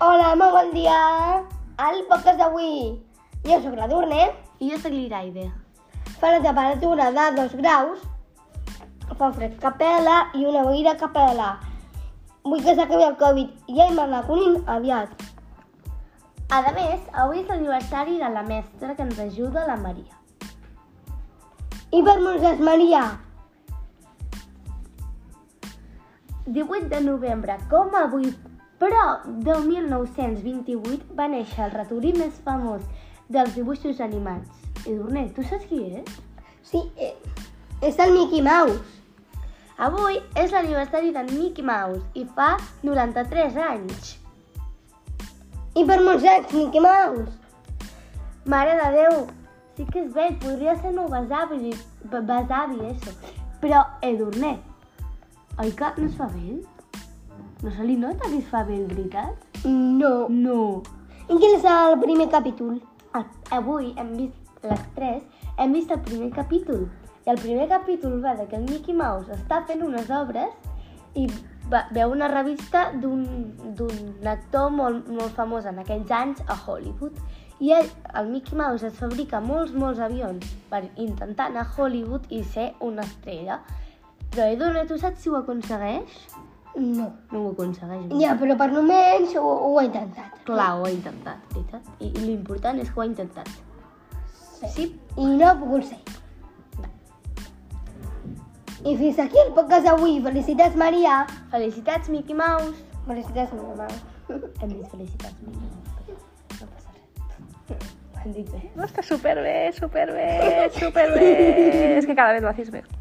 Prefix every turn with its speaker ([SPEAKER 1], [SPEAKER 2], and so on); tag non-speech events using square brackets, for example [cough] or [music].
[SPEAKER 1] Hola, molt bon dia. Al podcast d'avui. Jo sóc la Durne.
[SPEAKER 2] I jo sóc l'Iraide.
[SPEAKER 1] Fa una temperatura de 2 graus. Fa un fred que pela i una boira que pela. Vull que s'acabi el Covid i ja hem d'anar conint aviat.
[SPEAKER 2] A més, avui és l'aniversari de la mestra que ens ajuda, la Maria.
[SPEAKER 1] I per Montses Maria.
[SPEAKER 2] 18 de novembre, com avui, però del 1928 va néixer el ratolí més famós dels dibuixos animats. Edurne, tu saps qui és?
[SPEAKER 1] Sí, eh, és el Mickey Mouse.
[SPEAKER 2] Avui és l'aniversari de Mickey Mouse i fa 93 anys.
[SPEAKER 1] I per Montses, Mickey Mouse.
[SPEAKER 2] Mare de Déu, sí que és vell, podria ser meu besavi, be- besavi, això. Però Edurne, oi que no es fa vell? No se li nota que es fa vell, veritat?
[SPEAKER 1] No.
[SPEAKER 2] No.
[SPEAKER 1] I quin és el primer capítol?
[SPEAKER 2] A- Avui hem vist, les tres, hem vist el primer capítol. I el primer capítol va de que el Mickey Mouse està fent unes obres i va, veu una revista d'un d'un actor molt, molt famós en aquells anys a Hollywood. I ell, el Mickey Mouse es fabrica molts, molts avions per intentar anar a Hollywood i ser una estrella. Però Edona, tu saps si ho aconsegueix?
[SPEAKER 1] No.
[SPEAKER 2] No ho aconsegueix. no?
[SPEAKER 1] Ja, però per només ho, ho he intentat.
[SPEAKER 2] Clar, ho ha intentat, veritat? I, i l'important és que ho ha intentat. Sí,
[SPEAKER 1] i no ha pogut ser. I fins aquí el podcast d'avui. Felicitats, Maria.
[SPEAKER 2] Felicitats, Mickey Mouse.
[SPEAKER 1] Felicitats, meva mare.
[SPEAKER 2] Hem dit felicitats, Mickey Mouse, però no passa res. [laughs] Ho hem dit bé.
[SPEAKER 3] No, está súper bien, súper bien, súper bien. Es que cada vez lo hacéis mejor.